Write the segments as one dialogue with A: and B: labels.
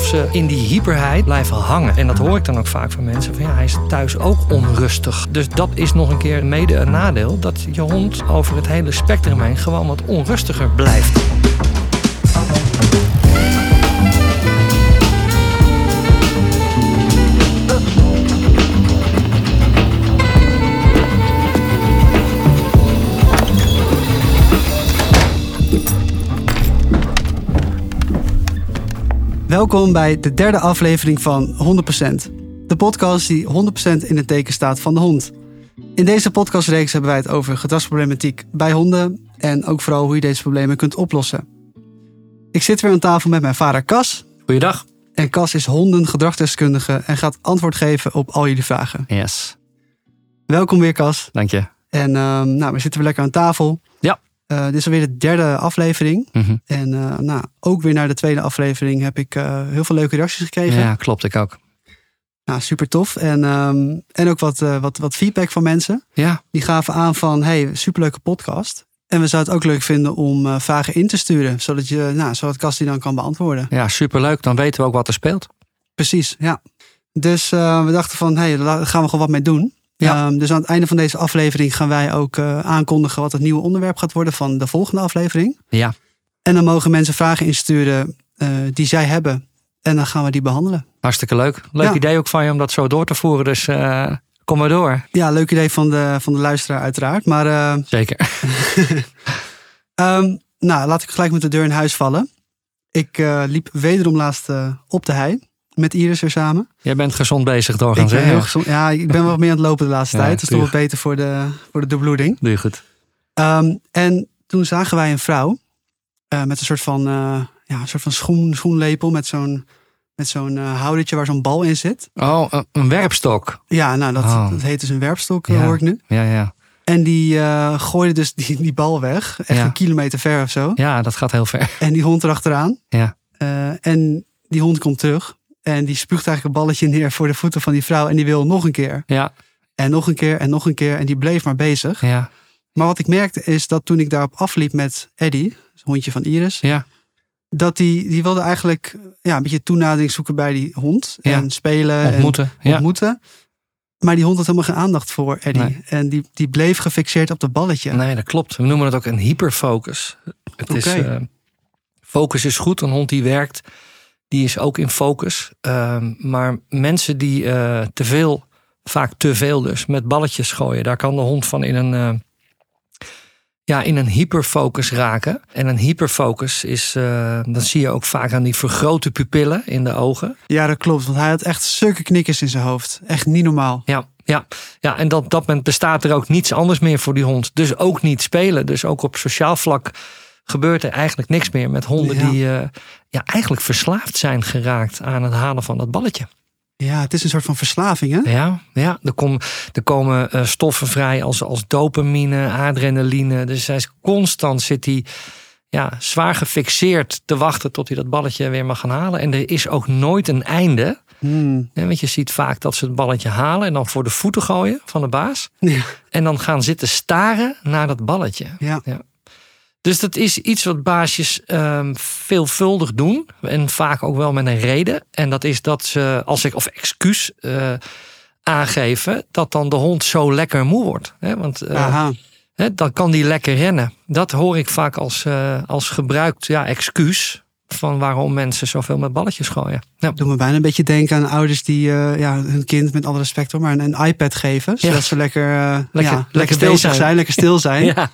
A: ze in die hyperheid blijven hangen. En dat hoor ik dan ook vaak van mensen. Van ja, hij is thuis ook onrustig. Dus dat is nog een keer mede een nadeel. Dat je hond over het hele spectrum heen gewoon wat onrustiger blijft.
B: Welkom bij de derde aflevering van 100%. De podcast die 100% in het teken staat van de hond. In deze podcastreeks hebben wij het over gedragsproblematiek bij honden en ook vooral hoe je deze problemen kunt oplossen. Ik zit weer aan tafel met mijn vader Cas.
A: Goeiedag.
B: En Cas is hondengedragsdeskundige en gaat antwoord geven op al jullie vragen.
C: Yes,
B: Welkom weer Cas.
C: dank je.
B: En ehm, nou, we zitten weer lekker aan tafel.
C: Ja.
B: Eh, dit is alweer de derde aflevering.
C: Mhm.
B: En eh, nou, ook weer naar de tweede aflevering heb ik eh, heel veel leuke reacties gekregen.
C: Ja, klopt, ik ook.
B: Nou, super tof. En, ehm, en ook wat, eh, wat, wat feedback van mensen.
C: Ja,
B: Die gaven aan van, hey, superleuke podcast. En we zouden het ook leuk vinden om eh, vragen in te sturen. Zodat, je, nou, zodat Cas die dan kan beantwoorden.
C: ja superleuk. Dan weten we ook wat er speelt.
B: Precies, ja. Dus eh, we dachten van, hey, daar gaan we gewoon wat mee doen.
C: Ja.
B: Ehm, dus aan het einde van deze aflevering gaan wij ook eh, aankondigen wat het nieuwe onderwerp gaat worden van de volgende aflevering.
C: Ja,
B: En dan mogen mensen vragen insturen eh, die zij hebben. En dan gaan we die behandelen.
C: hartstikke leuk. Leuk
B: Ja.
C: idee ook van je om dat zo door te voeren. Dus eh, kom maar door.
B: Ja, leuk idee van de, van de luisteraar uiteraard. Maar eh,
C: Zeker.
B: Ehm, nou, laat ik gelijk met de deur in huis vallen. Ik eh, liep wederom laatst eh, op de hei. Met Iris weer samen.
C: Jij bent gezond bezig
B: Ik
C: doorgaans.
B: ben,
C: hè?
B: heel
C: Ja.
B: gezond, ja, ik ben wat meer aan het lopen de laatste
C: Ja,
B: tijd. Dat is toch
C: tuur.
B: wat beter voor de, voor de doorbloeding.
C: Doe je goed.
B: Ehm, en toen zagen wij een vrouw. eh, met een soort van, eh, ja, een soort van schoen, schoenlepel. Met zo'n, met zo'n eh, houdertje waar zo'n bal in zit.
C: Oh, een- een werpstok.
B: Ja, nou, dat,
C: Oh.
B: dat heet dus een werpstok, eh,
C: Ja.
B: hoor ik nu.
C: Ja, ja.
B: En die eh, gooide dus die, die bal weg. Echt
C: Ja.
B: een kilometer ver of zo.
C: Ja, dat gaat heel ver.
B: En die hond erachteraan.
C: Ja.
B: Eh, en die hond komt terug. En die spuugt eigenlijk een balletje neer voor de voeten van die vrouw. En die wil nog een keer.
C: Ja,
B: En nog een keer en nog een keer. En die bleef maar bezig.
C: ja,
B: Maar wat ik merkte is dat toen ik daarop afliep met Eddie, het hondje van Iris.
C: ja.
B: Dat die, die wilde eigenlijk ja, een beetje toenadering zoeken bij die hond.
C: Ja.
B: Eh, En spelen
C: Ontmoeten.
B: en
C: Ja.
B: ontmoeten. Maar die hond had helemaal geen aandacht voor Eddie.
C: Nee.
B: En die, die bleef gefixeerd op dat balletje.
C: Nee, dat klopt. We noemen het ook een hyperfocus. Het is,
B: Oké.
C: eh, focus is goed. Een hond die werkt, die is ook in focus. Ehm, maar mensen die eh, te veel, vaak te veel dus, met balletjes gooien, daar kan de hond van in een, eh, ja, in een hyperfocus raken. En een hyperfocus is, eh dat zie je ook vaak aan die vergrote pupillen in de ogen.
B: Ja, dat klopt. Want hij had echt zulke knikkers in zijn hoofd. Echt niet normaal.
C: Ja, ja, ja. en dat, dat moment bestaat er ook niets anders meer voor die hond. Dus ook niet spelen. Dus ook op sociaal vlak gebeurt er eigenlijk niks meer met honden
B: Ja.
C: die eh, ja, eigenlijk verslaafd zijn geraakt aan het halen van dat balletje.
B: Ja, het is een soort van verslaving, hè?
C: Ja, ja. Er, kom, er komen eh, stoffen vrij als, als dopamine, adrenaline. Dus hij is constant zit hij ja, zwaar gefixeerd te wachten tot hij dat balletje weer mag gaan halen. En er is ook nooit een einde.
B: Hmm.
C: hè, Want je ziet vaak dat ze het balletje halen en dan voor de voeten gooien van de baas.
B: Ja,
C: En dan gaan zitten staren naar dat balletje.
B: ja,
C: Dus dat is iets wat baasjes ehm, veelvuldig doen. En vaak ook wel met een reden. En dat is dat ze, als ik, of excuus eh, aangeven, dat dan de hond zo lekker moe wordt. Hè? Want eh,
B: aha.
C: hè, dan kan die lekker rennen. Dat hoor ik vaak als, eh, als gebruikt ja, excuus. Van waarom mensen zoveel met balletjes gooien. Nou, Ja,
B: Doe me bijna een beetje denken aan ouders die eh, ja, hun kind met alle respect hoor, maar een, een iPad geven. Zodat
C: Ja.
B: ze lekker, eh,
C: Lekker-
B: ja, lekker
C: lekker
B: bezig zijn.
C: zijn.
B: lekker stil zijn.
C: ja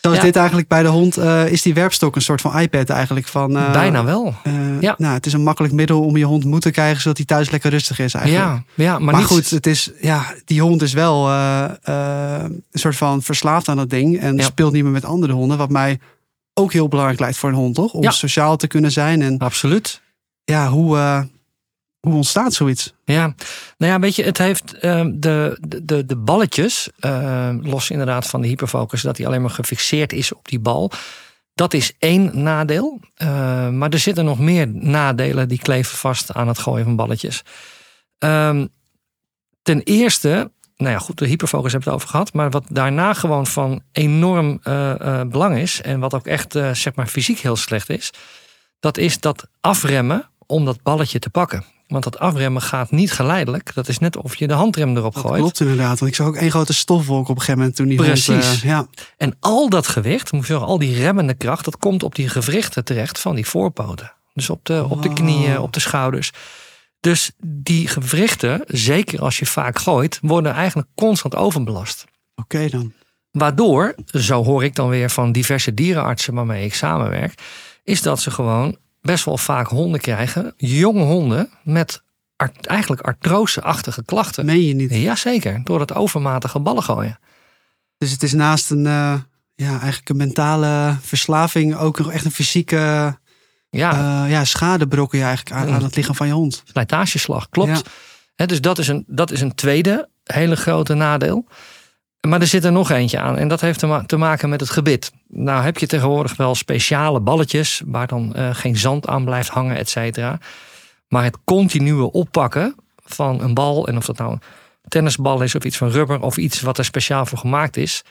B: Zo is
C: Ja.
B: dit eigenlijk bij de hond, eh, is die werpstok een soort van iPad eigenlijk. Van, eh,
C: bijna wel.
B: eh,
C: Ja.
B: nou, het is een makkelijk middel om je hond moe te krijgen, zodat hij thuis lekker rustig is eigenlijk.
C: Ja, ja, maar
B: Maar,
C: niet-
B: goed, het is, ja, die hond is wel eh, eh, een soort van verslaafd aan dat ding. En
C: Ja.
B: speelt niet meer met andere honden. Wat mij ook heel belangrijk lijkt voor een hond, toch? Om
C: Ja.
B: sociaal te kunnen zijn. En
C: Absoluut.
B: ja, hoe, eh, hoe ontstaat zoiets?
C: Ja, nou ja, weet je, het heeft ehm, de, de- de, de balletjes, ehm, los inderdaad van de hyperfocus, dat hij alleen maar gefixeerd is op die bal. Dat is één nadeel. Eh, maar er zitten nog meer nadelen die kleven vast aan het gooien van balletjes. Ehm, ten eerste, nou ja, goed, de hyperfocus hebben we het over gehad. Maar wat daarna gewoon van enorm eh, eh, belang is. En wat ook echt, eh, zeg maar, fysiek heel slecht is. Dat is dat afremmen om dat balletje te pakken. Want dat afremmen gaat niet geleidelijk. Dat is net of je de handrem erop
B: Dat
C: gooit.
B: klopt inderdaad, want ik zag ook één grote stofwolk op een gegeven moment toen die
C: Precies.
B: hond, eh, ja.
C: En al dat gewicht, moet je zeggen, al die remmende kracht, dat komt op die gewrichten terecht van die voorpoten. Dus op de, op de
B: Wow.
C: knieën, op de schouders. Dus die gewrichten, zeker als je vaak gooit, worden eigenlijk constant overbelast.
B: Oké dan.
C: Waardoor, zo hoor ik dan weer van diverse dierenartsen waarmee ik samenwerk, is dat ze gewoon best wel vaak honden krijgen, jonge honden met art- eigenlijk artrose-achtige klachten.
B: Meen je niet.
C: Jazeker, door het overmatige ballen gooien.
B: Dus het is naast een, eh, ja, eigenlijk een mentale verslaving ook nog echt een fysieke
C: Ja,
B: eh, ja, schade brokkel je eigenlijk aan,
C: Mm.
B: aan het lichaam van je hond.
C: slijtageslag, klopt.
B: Ja.
C: Hè, dus dat is, een, dat is een tweede hele grote nadeel. Maar er zit er nog eentje aan. En dat heeft te, ma- te maken met het gebit. Nou heb je tegenwoordig wel speciale balletjes. Waar dan eh, geen zand aan blijft hangen, et cetera. Maar het continue oppakken van een bal. En of dat nou een tennisbal is of iets van rubber. Of iets wat er speciaal voor gemaakt is.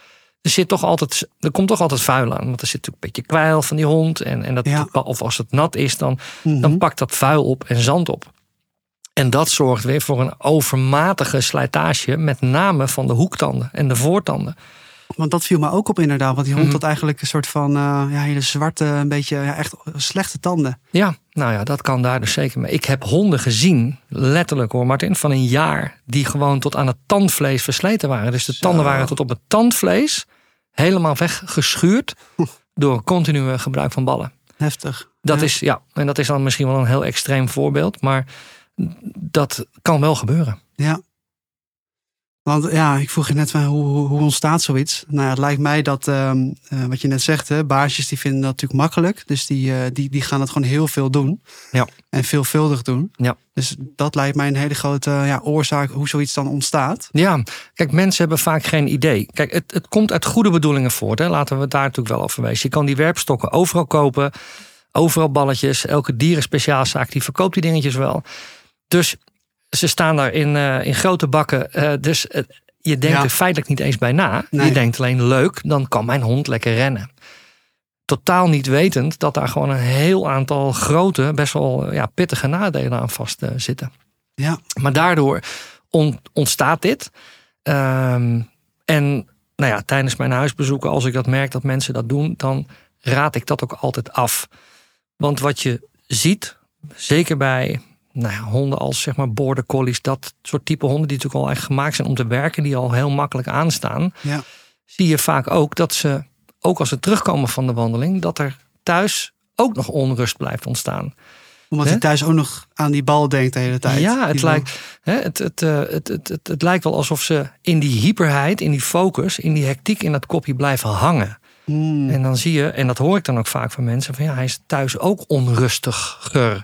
C: Er, zit toch altijd, er komt toch altijd vuil aan. Want er zit natuurlijk een beetje kwijl van die hond. En, en dat,
B: Ja.
C: Of als het nat is, dan
B: Mhm.
C: dan pakt dat vuil op en zand op. En dat zorgt weer voor een overmatige slijtage, met name van de hoektanden en de voortanden.
B: Want dat viel me ook op inderdaad. Want die hond
C: Mhm.
B: had eigenlijk een soort van eh, ja, hele zwarte, een beetje ja, echt slechte tanden.
C: Ja, nou ja, dat kan daar dus zeker mee. Ik heb honden gezien, letterlijk hoor Martin, van een jaar die gewoon tot aan het tandvlees versleten waren. Dus de tanden waren tot op het tandvlees helemaal weggeschuurd door continue gebruik van ballen.
B: Heftig.
C: Dat
B: Ja.
C: is, ja, en dat is dan misschien wel een heel extreem voorbeeld, maar dat kan wel gebeuren.
B: Ja. Want ja, ik vroeg je net van hoe, hoe, hoe ontstaat zoiets? Nou ja, het lijkt mij dat, ehm, eh, wat je net zegt, hè, baasjes die vinden dat natuurlijk makkelijk. Dus die, eh, die, die gaan het gewoon heel veel doen.
C: Ja.
B: En veelvuldig doen.
C: Ja.
B: Dus dat lijkt mij een hele grote eh, ja, oorzaak hoe zoiets dan ontstaat.
C: Ja, kijk, mensen hebben vaak geen idee. Kijk, het, het komt uit goede bedoelingen voort. Hè? Laten we het daar natuurlijk wel over wezen. Je kan die werpstokken overal kopen. Overal balletjes. Elke dierenspeciaalzaak die verkoopt die dingetjes wel. Dus ze staan daar in, eh, in grote bakken. Eh, dus eh, je denkt
B: Ja.
C: er feitelijk niet eens bij na.
B: Nee.
C: Je denkt alleen leuk, dan kan mijn hond lekker rennen. Totaal niet wetend dat daar gewoon een heel aantal grote, best wel ja, pittige nadelen aan vast eh, zitten.
B: Ja.
C: Maar daardoor on- ontstaat dit. Ehm, en nou ja, tijdens mijn huisbezoeken, als ik dat merk dat mensen dat doen, dan raad ik dat ook altijd af. Want wat je ziet, zeker bij nou ja, honden als zeg maar border collies, dat soort type honden die natuurlijk al echt gemaakt zijn om te werken, die al heel makkelijk aanstaan,
B: Ja.
C: zie je vaak ook dat ze, ook als ze terugkomen van de wandeling, dat er thuis ook nog onrust blijft ontstaan.
B: Omdat
C: Hè?
B: hij thuis ook nog aan die bal denkt de hele tijd.
C: Ja, het
B: Die
C: lijkt, hè, het, het, eh, het, het, het, het lijkt wel alsof ze in die hyperheid, in die focus, in die hectiek in dat kopje blijven hangen.
B: bal. Hmm.
C: En dan zie je, en dat hoor ik dan ook vaak van mensen, van ja, hij is thuis ook onrustiger.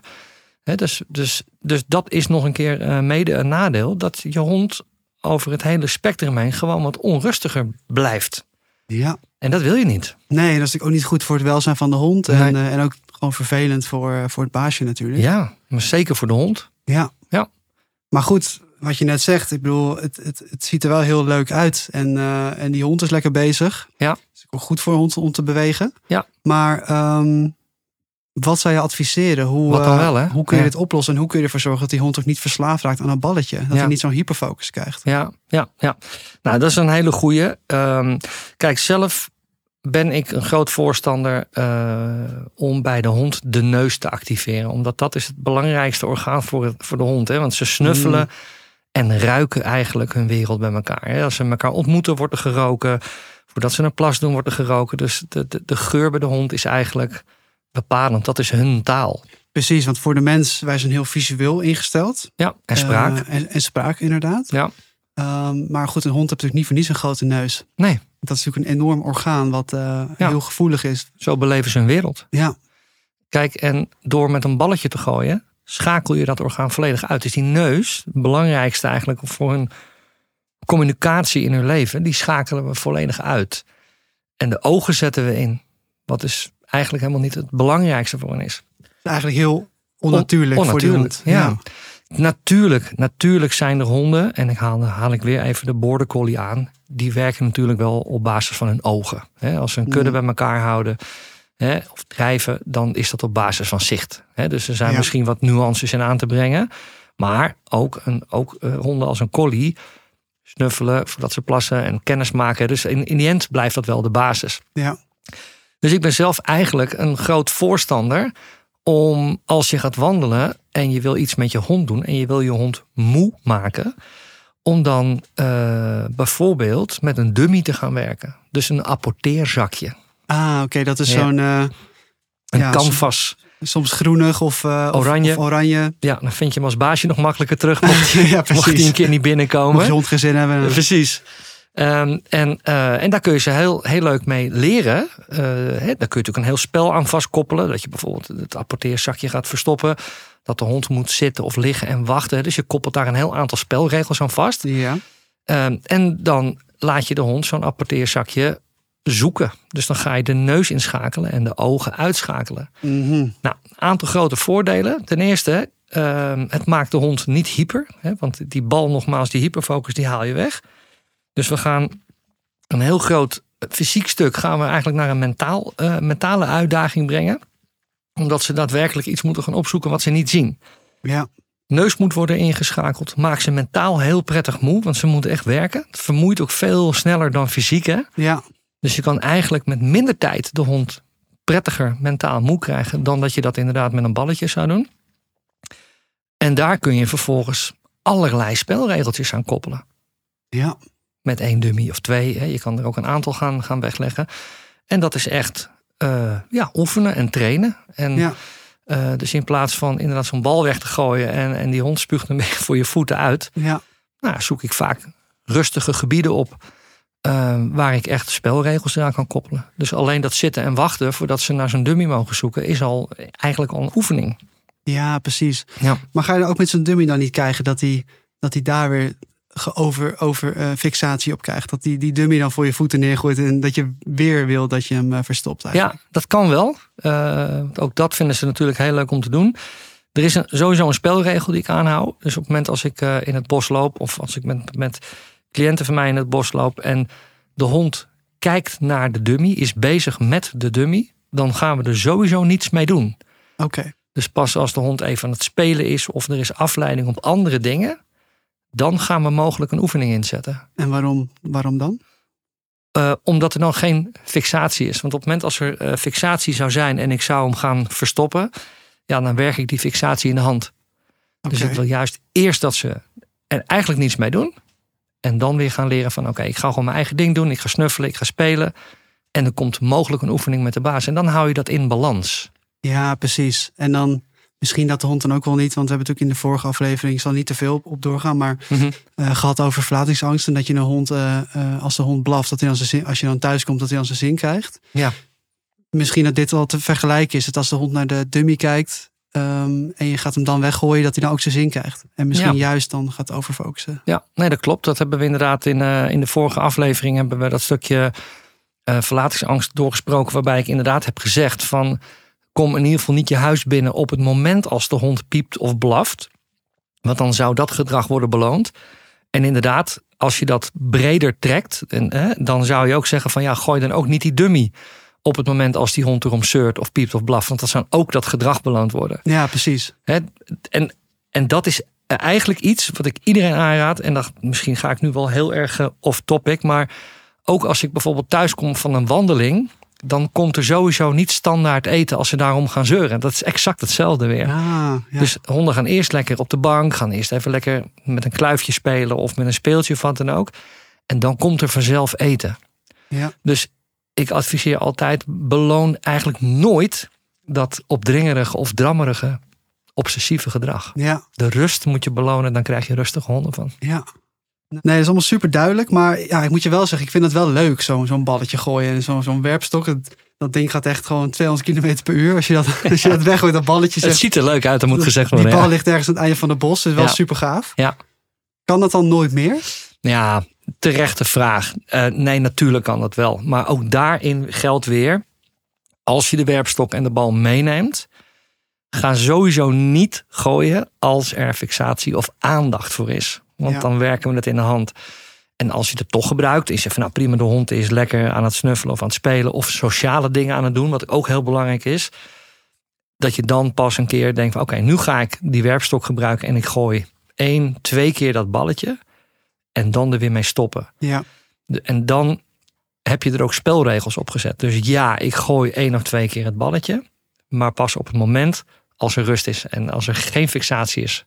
C: Hè, dus, dus, dus dat is nog een keer eh, mede een nadeel, dat je hond over het hele spectrum heen gewoon wat onrustiger blijft.
B: Ja.
C: En dat wil je niet.
B: Nee, dat is natuurlijk ook niet goed voor het welzijn van de hond. En,
C: Nee.
B: eh, en ook gewoon vervelend voor, eh, voor het baasje natuurlijk.
C: Ja, maar zeker voor de hond.
B: Ja.
C: Ja.
B: Maar goed, wat je net zegt, ik bedoel, het, het, het ziet er wel heel leuk uit. En, eh, en die hond is lekker bezig.
C: Ja.
B: Het is ook wel goed voor een hond om te bewegen.
C: Ja.
B: Maar ehm, wat zou je adviseren? Hoe,
C: Wat dan
B: eh,
C: wel, hè?
B: hoe kun je
C: Ja.
B: dit oplossen? En hoe kun je ervoor zorgen dat die hond ook niet verslaafd raakt aan een balletje? Dat
C: Ja.
B: hij niet zo'n hyperfocus krijgt.
C: Ja, ja, ja. Nou, dat is een hele goeie. Ehm, kijk, zelf ben ik een groot voorstander eh, om bij de hond de neus te activeren. Omdat dat is het belangrijkste orgaan voor, het- voor de hond. Hè? Want ze snuffelen en ruiken eigenlijk hun wereld bij elkaar. Hè? Als ze elkaar ontmoeten, wordt er geroken. Voordat ze een plas doen, wordt er geroken. Dus de, de, de geur bij de hond is eigenlijk bepalend. Dat is hun taal.
B: Precies, want voor de mens, wij zijn heel visueel ingesteld.
C: Ja, en spraak.
B: Eh, en, en spraak, inderdaad.
C: Ja.
B: Ehm, maar goed, een hond heeft natuurlijk niet voor niets een grote neus.
C: Nee.
B: Dat is natuurlijk een enorm orgaan wat eh, heel gevoelig is.
C: Zo beleven ze hun wereld.
B: Ja,
C: Kijk, en door met een balletje te gooien, schakel je dat orgaan volledig uit. Dus die neus, het belangrijkste eigenlijk voor hun communicatie in hun leven, die schakelen we volledig uit. En de ogen zetten we in. Wat is eigenlijk helemaal niet het belangrijkste voor hen is.
B: eigenlijk heel onnatuurlijk,
C: On-
B: voor die hond.
C: ja. Natuurlijk, natuurlijk zijn er honden, en ik haal, haal ik weer even de border collie
B: Mm.
C: aan, die werken natuurlijk wel op basis van hun ogen. Hè, als ze een kudde bij elkaar houden, hè, of drijven, dan is dat op basis van zicht. Hè. Dus er zijn
B: Ja.
C: misschien wat nuances in aan te brengen. Maar ook, een, ook eh, honden als een collie snuffelen voordat ze plassen en kennis maken. Dus in, in die end blijft dat wel de basis.
B: Ja.
C: Dus ik ben zelf eigenlijk een groot voorstander om als je gaat wandelen en je wil iets met je hond doen en je wil je hond moe maken, om dan eh, bijvoorbeeld met een dummy te gaan werken. Dus een apporteerzakje,
B: Ah, oké, dat is
C: Ja.
B: zo'n eh,
C: een
B: Ja,
C: canvas.
B: soms groenig of eh, of-
C: Oranje.
B: Of, oranje.
C: Ja, dan vind je hem als baasje nog makkelijker terug, mocht
B: ja,
C: mocht hij een
B: precies.
C: keer niet
B: Mocht je
C: binnenkomen.
B: hond geen zin hebben.
C: Precies. Ehm, en, eh, en daar kun je ze heel, heel leuk mee leren. Eh, hè, daar kun je natuurlijk een heel spel aan vastkoppelen. Dat je bijvoorbeeld het apporteerzakje gaat verstoppen. Dat de hond moet zitten of liggen en wachten. Dus je koppelt daar een heel aantal spelregels aan vast.
B: Ja.
C: Ehm, en dan laat je de hond zo'n apporteerzakje zoeken. Dus dan ga je de neus inschakelen en de ogen uitschakelen.
B: Mhm.
C: Nou, een aantal grote voordelen. Ten eerste, ehm, het maakt de hond niet hyper. Hè, want die bal, nogmaals, die hyperfocus, die haal je weg. Dus we gaan een heel groot eh, fysiek stuk gaan we eigenlijk naar een mentaal, eh, mentale uitdaging brengen. Omdat ze daadwerkelijk iets moeten gaan opzoeken wat ze niet zien.
B: ja.
C: Neus moet worden ingeschakeld. Maakt ze mentaal heel prettig moe, want ze moeten echt werken. Het vermoeit ook veel sneller dan fysiek. Hè?
B: Ja.
C: Dus je kan eigenlijk met minder tijd de hond prettiger mentaal moe krijgen dan dat je dat inderdaad met een balletje zou doen. En daar kun je vervolgens allerlei spelregeltjes aan koppelen.
B: Ja.
C: Met één dummy of twee. Hè. Je kan er ook een aantal gaan, gaan wegleggen. En dat is echt eh, ja, oefenen en trainen. En,
B: Ja.
C: eh, dus in plaats van inderdaad zo'n bal weg te gooien en, en die hond spuugt hem weg voor je voeten uit
B: Ja.
C: nou, zoek ik vaak rustige gebieden op. eh, waar ik echt spelregels eraan kan koppelen. Dus alleen dat zitten en wachten voordat ze naar zo'n dummy mogen zoeken, is al eigenlijk al een oefening.
B: Ja, precies.
C: Ja.
B: Maar ga je dan ook met zo'n dummy dan niet krijgen dat hij dat die daar weer ge- over, over eh, fixatie op krijgt? Dat die, die dummy dan voor je voeten neergooit en dat je weer wil dat je hem eh, verstopt eigenlijk.
C: ja, dat kan wel. Eh, want ook dat vinden ze natuurlijk heel leuk om te doen. Er is een, sowieso een spelregel die ik aanhoud. Dus op het moment als ik eh, in het bos loop, of als ik met, met cliënten van mij in het bos loop en de hond kijkt naar de dummy, is bezig met de dummy, dan gaan we er sowieso niets mee doen.
B: Oké.
C: Dus pas als de hond even aan het spelen is of er is afleiding op andere dingen, dan gaan we mogelijk een oefening inzetten.
B: En waarom, waarom dan?
C: Eh, omdat er dan geen fixatie is. Want op het moment als er eh, fixatie zou zijn en ik zou hem gaan verstoppen, ja, dan werk ik die fixatie in de hand. Dus
B: Oké.
C: ik wil juist eerst dat ze er eigenlijk niets mee doen. En dan weer gaan leren van oké, ik ga gewoon mijn eigen ding doen. Ik ga snuffelen, ik ga spelen. En er komt mogelijk een oefening met de baas. En dan hou je dat in balans.
B: Ja, precies. En dan misschien dat de hond dan ook wel niet, want we hebben natuurlijk in de vorige aflevering, ik zal niet te veel op, op doorgaan, maar eh, gehad over verlatingsangst. En dat je een hond, eh, eh, als de hond blaft, dat hij dan zijn zin, als je dan thuis komt, dat hij dan zijn zin krijgt.
C: Ja.
B: Misschien dat dit wel te vergelijken is. Dat als de hond naar de dummy kijkt ehm, en je gaat hem dan weggooien, dat hij dan ook zijn zin krijgt. En misschien
C: Ja.
B: juist dan gaat overfocussen.
C: Ja, nee, dat klopt. Dat hebben we inderdaad in, eh, in de vorige aflevering hebben we dat stukje eh, verlatingsangst doorgesproken. Waarbij ik inderdaad heb gezegd van kom in ieder geval niet je huis binnen op het moment als de hond piept of blaft. Want dan zou dat gedrag worden beloond. En inderdaad, als je dat breder trekt, en, hè, dan zou je ook zeggen van ja, gooi dan ook niet die dummy op het moment als die hond erom zeurt of piept of blaft. Want dat zou ook dat gedrag beloond worden.
B: Ja, precies.
C: Hè, en, en dat is eigenlijk iets wat ik iedereen aanraad. En dat, misschien ga ik nu wel heel erg eh, off-topic. Maar ook als ik bijvoorbeeld thuis kom van een wandeling. Dan komt er sowieso niet standaard eten als ze daarom gaan zeuren. Dat is exact hetzelfde weer.
B: Ja, Ah, ja.
C: Dus honden gaan eerst lekker op de bank. Gaan eerst even lekker met een kluifje spelen. Of met een speeltje of wat dan ook. En dan komt er vanzelf eten.
B: ja.
C: Dus ik adviseer altijd: beloon eigenlijk nooit dat opdringerige of drammerige, obsessieve gedrag.
B: ja.
C: De rust moet je belonen, dan krijg je rustige honden van.
B: Ja. Nee, dat is allemaal super duidelijk. Maar ja, ik moet je wel zeggen, ik vind het wel leuk, zo'n zo'n balletje gooien en zo'n zo'n werpstok. Dat, dat ding gaat echt gewoon 200 km per uur. Als je dat, als je dat weggooit, dat balletje
C: Het
B: zegt,
C: ziet er leuk uit, dat moet gezegd
B: die
C: worden.
B: bal
C: Ja.
B: ligt ergens aan het einde van de bos. Dat is wel
C: Ja.
B: super gaaf.
C: Ja.
B: Kan dat dan nooit meer?
C: ja, terechte vraag. Eh, nee, natuurlijk kan dat wel. Maar ook daarin geldt weer: als je de werpstok en de bal meeneemt, ga sowieso niet gooien als er fixatie of aandacht voor is. Want
B: Ja.
C: dan werken we het in de hand. En als je het toch gebruikt, is je van nou prima, de hond is lekker aan het snuffelen of aan het spelen of sociale dingen aan het doen, wat ook heel belangrijk is. Dat je dan pas een keer denkt: oké, okay, nu ga ik die werpstok gebruiken en ik gooi één, twee keer dat balletje en dan er weer mee stoppen.
B: Ja.
C: De, en dan heb je er ook spelregels op gezet. Dus ja, ik gooi één of twee keer het balletje, maar pas op het moment als er rust is en als er geen fixatie is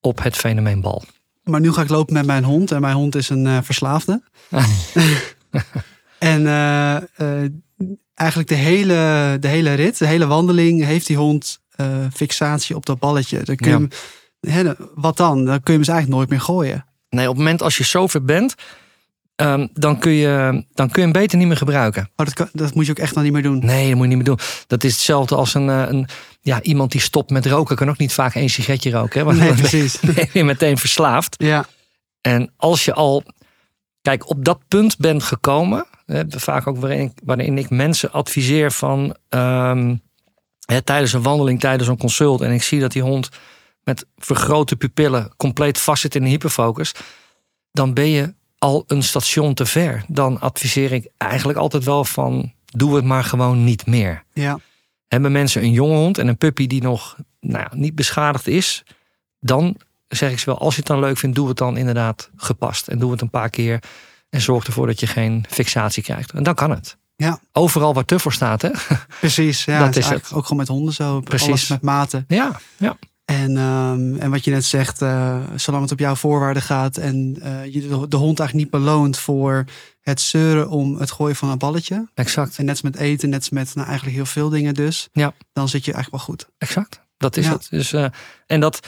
C: op het fenomeen bal.
B: Maar nu ga ik lopen met mijn hond en mijn hond is een uh, verslaafde. en uh, uh, eigenlijk de hele, de hele rit, de hele wandeling, heeft die hond eh, fixatie op dat balletje. Dan kun je ja. hem, hè, wat dan? Dan kun je hem dus eigenlijk nooit meer gooien.
C: Nee, op het moment als je zover bent, um, dan, kun je, dan kun je hem beter niet meer gebruiken.
B: Maar dat, kan, dat moet je ook echt dan niet meer doen?
C: Nee, dat moet je niet meer doen. Dat is hetzelfde als een, eh, een ja, iemand die stopt met roken. Kan ook niet vaak één sigaretje roken. Hè?
B: Want nee, precies.
C: Dan ben je meteen verslaafd.
B: Ja.
C: En als je al, kijk, op dat punt bent gekomen. Hè, vaak ook waarin ik, waarin ik mensen adviseer van... Um, hè, tijdens een wandeling, tijdens een consult. En ik zie dat die hond met vergrote pupillen compleet vastzit in de hyperfocus, dan ben je al een station te ver. Dan adviseer ik eigenlijk altijd wel van doe het maar gewoon niet meer.
B: Ja.
C: Hebben mensen een jonge hond en een puppy die nog nou, niet beschadigd is, dan zeg ik ze wel, als je het dan leuk vindt, doe het dan inderdaad gepast. En doe het een paar keer en zorg ervoor dat je geen fixatie krijgt. En dan kan het.
B: Ja.
C: Overal waar te voor staat, hè?
B: Precies, ja. dat is, het. Ook gewoon met honden zo. Precies. Alles met maten.
C: Ja, ja.
B: En, um, en wat je net zegt, uh, zolang het op jouw voorwaarden gaat en uh, je de, de, hond eigenlijk niet beloont voor het zeuren om het gooien van een balletje.
C: Exact.
B: En net als met eten, net als met nou, eigenlijk heel veel dingen dus.
C: Ja.
B: Dan zit je eigenlijk wel goed.
C: Exact. Dat is ja. het. Dus, uh, en dat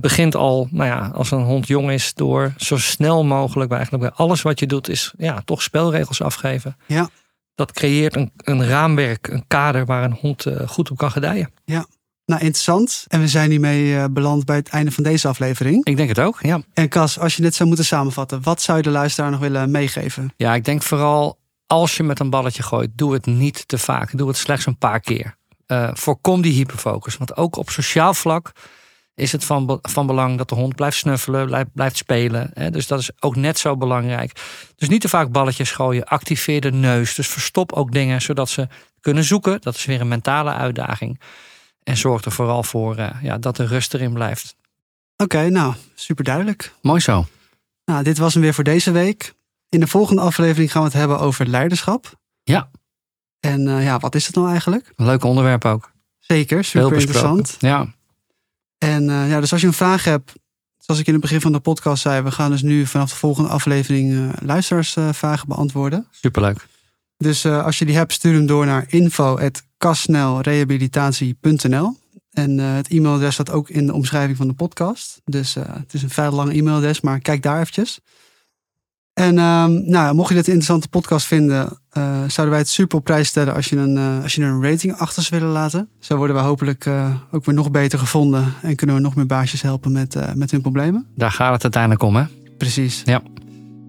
C: begint al, nou ja, als een hond jong is, door zo snel mogelijk bij eigenlijk bij alles wat je doet, is ja, toch spelregels afgeven.
B: Ja.
C: Dat creëert een, een raamwerk, een kader waar een hond eh, goed op kan gedijen.
B: Ja. Nou, interessant. En we zijn hiermee eh, beland bij het einde van deze aflevering.
C: Ik denk het ook, ja.
B: En Cas, als je dit zou moeten samenvatten, wat zou je de luisteraar nog willen meegeven?
C: Ja, ik denk vooral als je met een balletje gooit, doe het niet te vaak. Doe het slechts een paar keer. Uh, voorkom die hyperfocus. Want ook op sociaal vlak is het van, be van belang dat de hond blijft snuffelen, blijft, blijft spelen. Hè? Dus dat is ook net zo belangrijk. Dus niet te vaak balletjes gooien. Activeer de neus. Dus verstop ook dingen zodat ze kunnen zoeken. Dat is weer een mentale uitdaging. En zorg er vooral voor uh, ja, dat er rust erin blijft.
B: Oké, okay, nou, super duidelijk.
C: Mooi zo.
B: Nou, dit was hem weer voor deze week. In de volgende aflevering gaan we het hebben over leiderschap.
C: Ja.
B: En uh, ja, wat is het nou eigenlijk?
C: Leuk onderwerp ook.
B: Zeker, super interessant.
C: Ja.
B: En uh, ja, dus als je een vraag hebt, zoals ik in het begin van de podcast zei, we gaan dus nu vanaf de volgende aflevering eh, luisteraarsvragen beantwoorden.
C: Superleuk.
B: Dus als je die hebt, stuur hem door naar info@ kasnelrehabilitatie.nl. En uh, het e-mailadres staat ook in de omschrijving van de podcast. Dus uh, het is een vrij lang e-mailadres, maar kijk daar eventjes. En uh, nou, mocht je dit een interessante podcast vinden, eh, zouden wij het super op prijs stellen als je, een, eh, als je er een rating achter zou willen laten. Zo worden we hopelijk eh, ook weer nog beter gevonden en kunnen we nog meer baasjes helpen met, met hun problemen.
C: Daar gaat het uiteindelijk om, hè?
B: Precies.
C: Ja.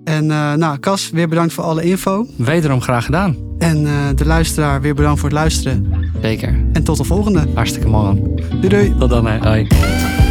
B: En nou, Cas, weer bedankt voor alle info.
C: Wederom graag gedaan.
B: En uh, de luisteraar, weer bedankt voor het luisteren.
C: Zeker.
B: En tot de volgende.
C: Hartstikke mooi.
B: Doei doei.
C: Tot dan. Hè. Hoi.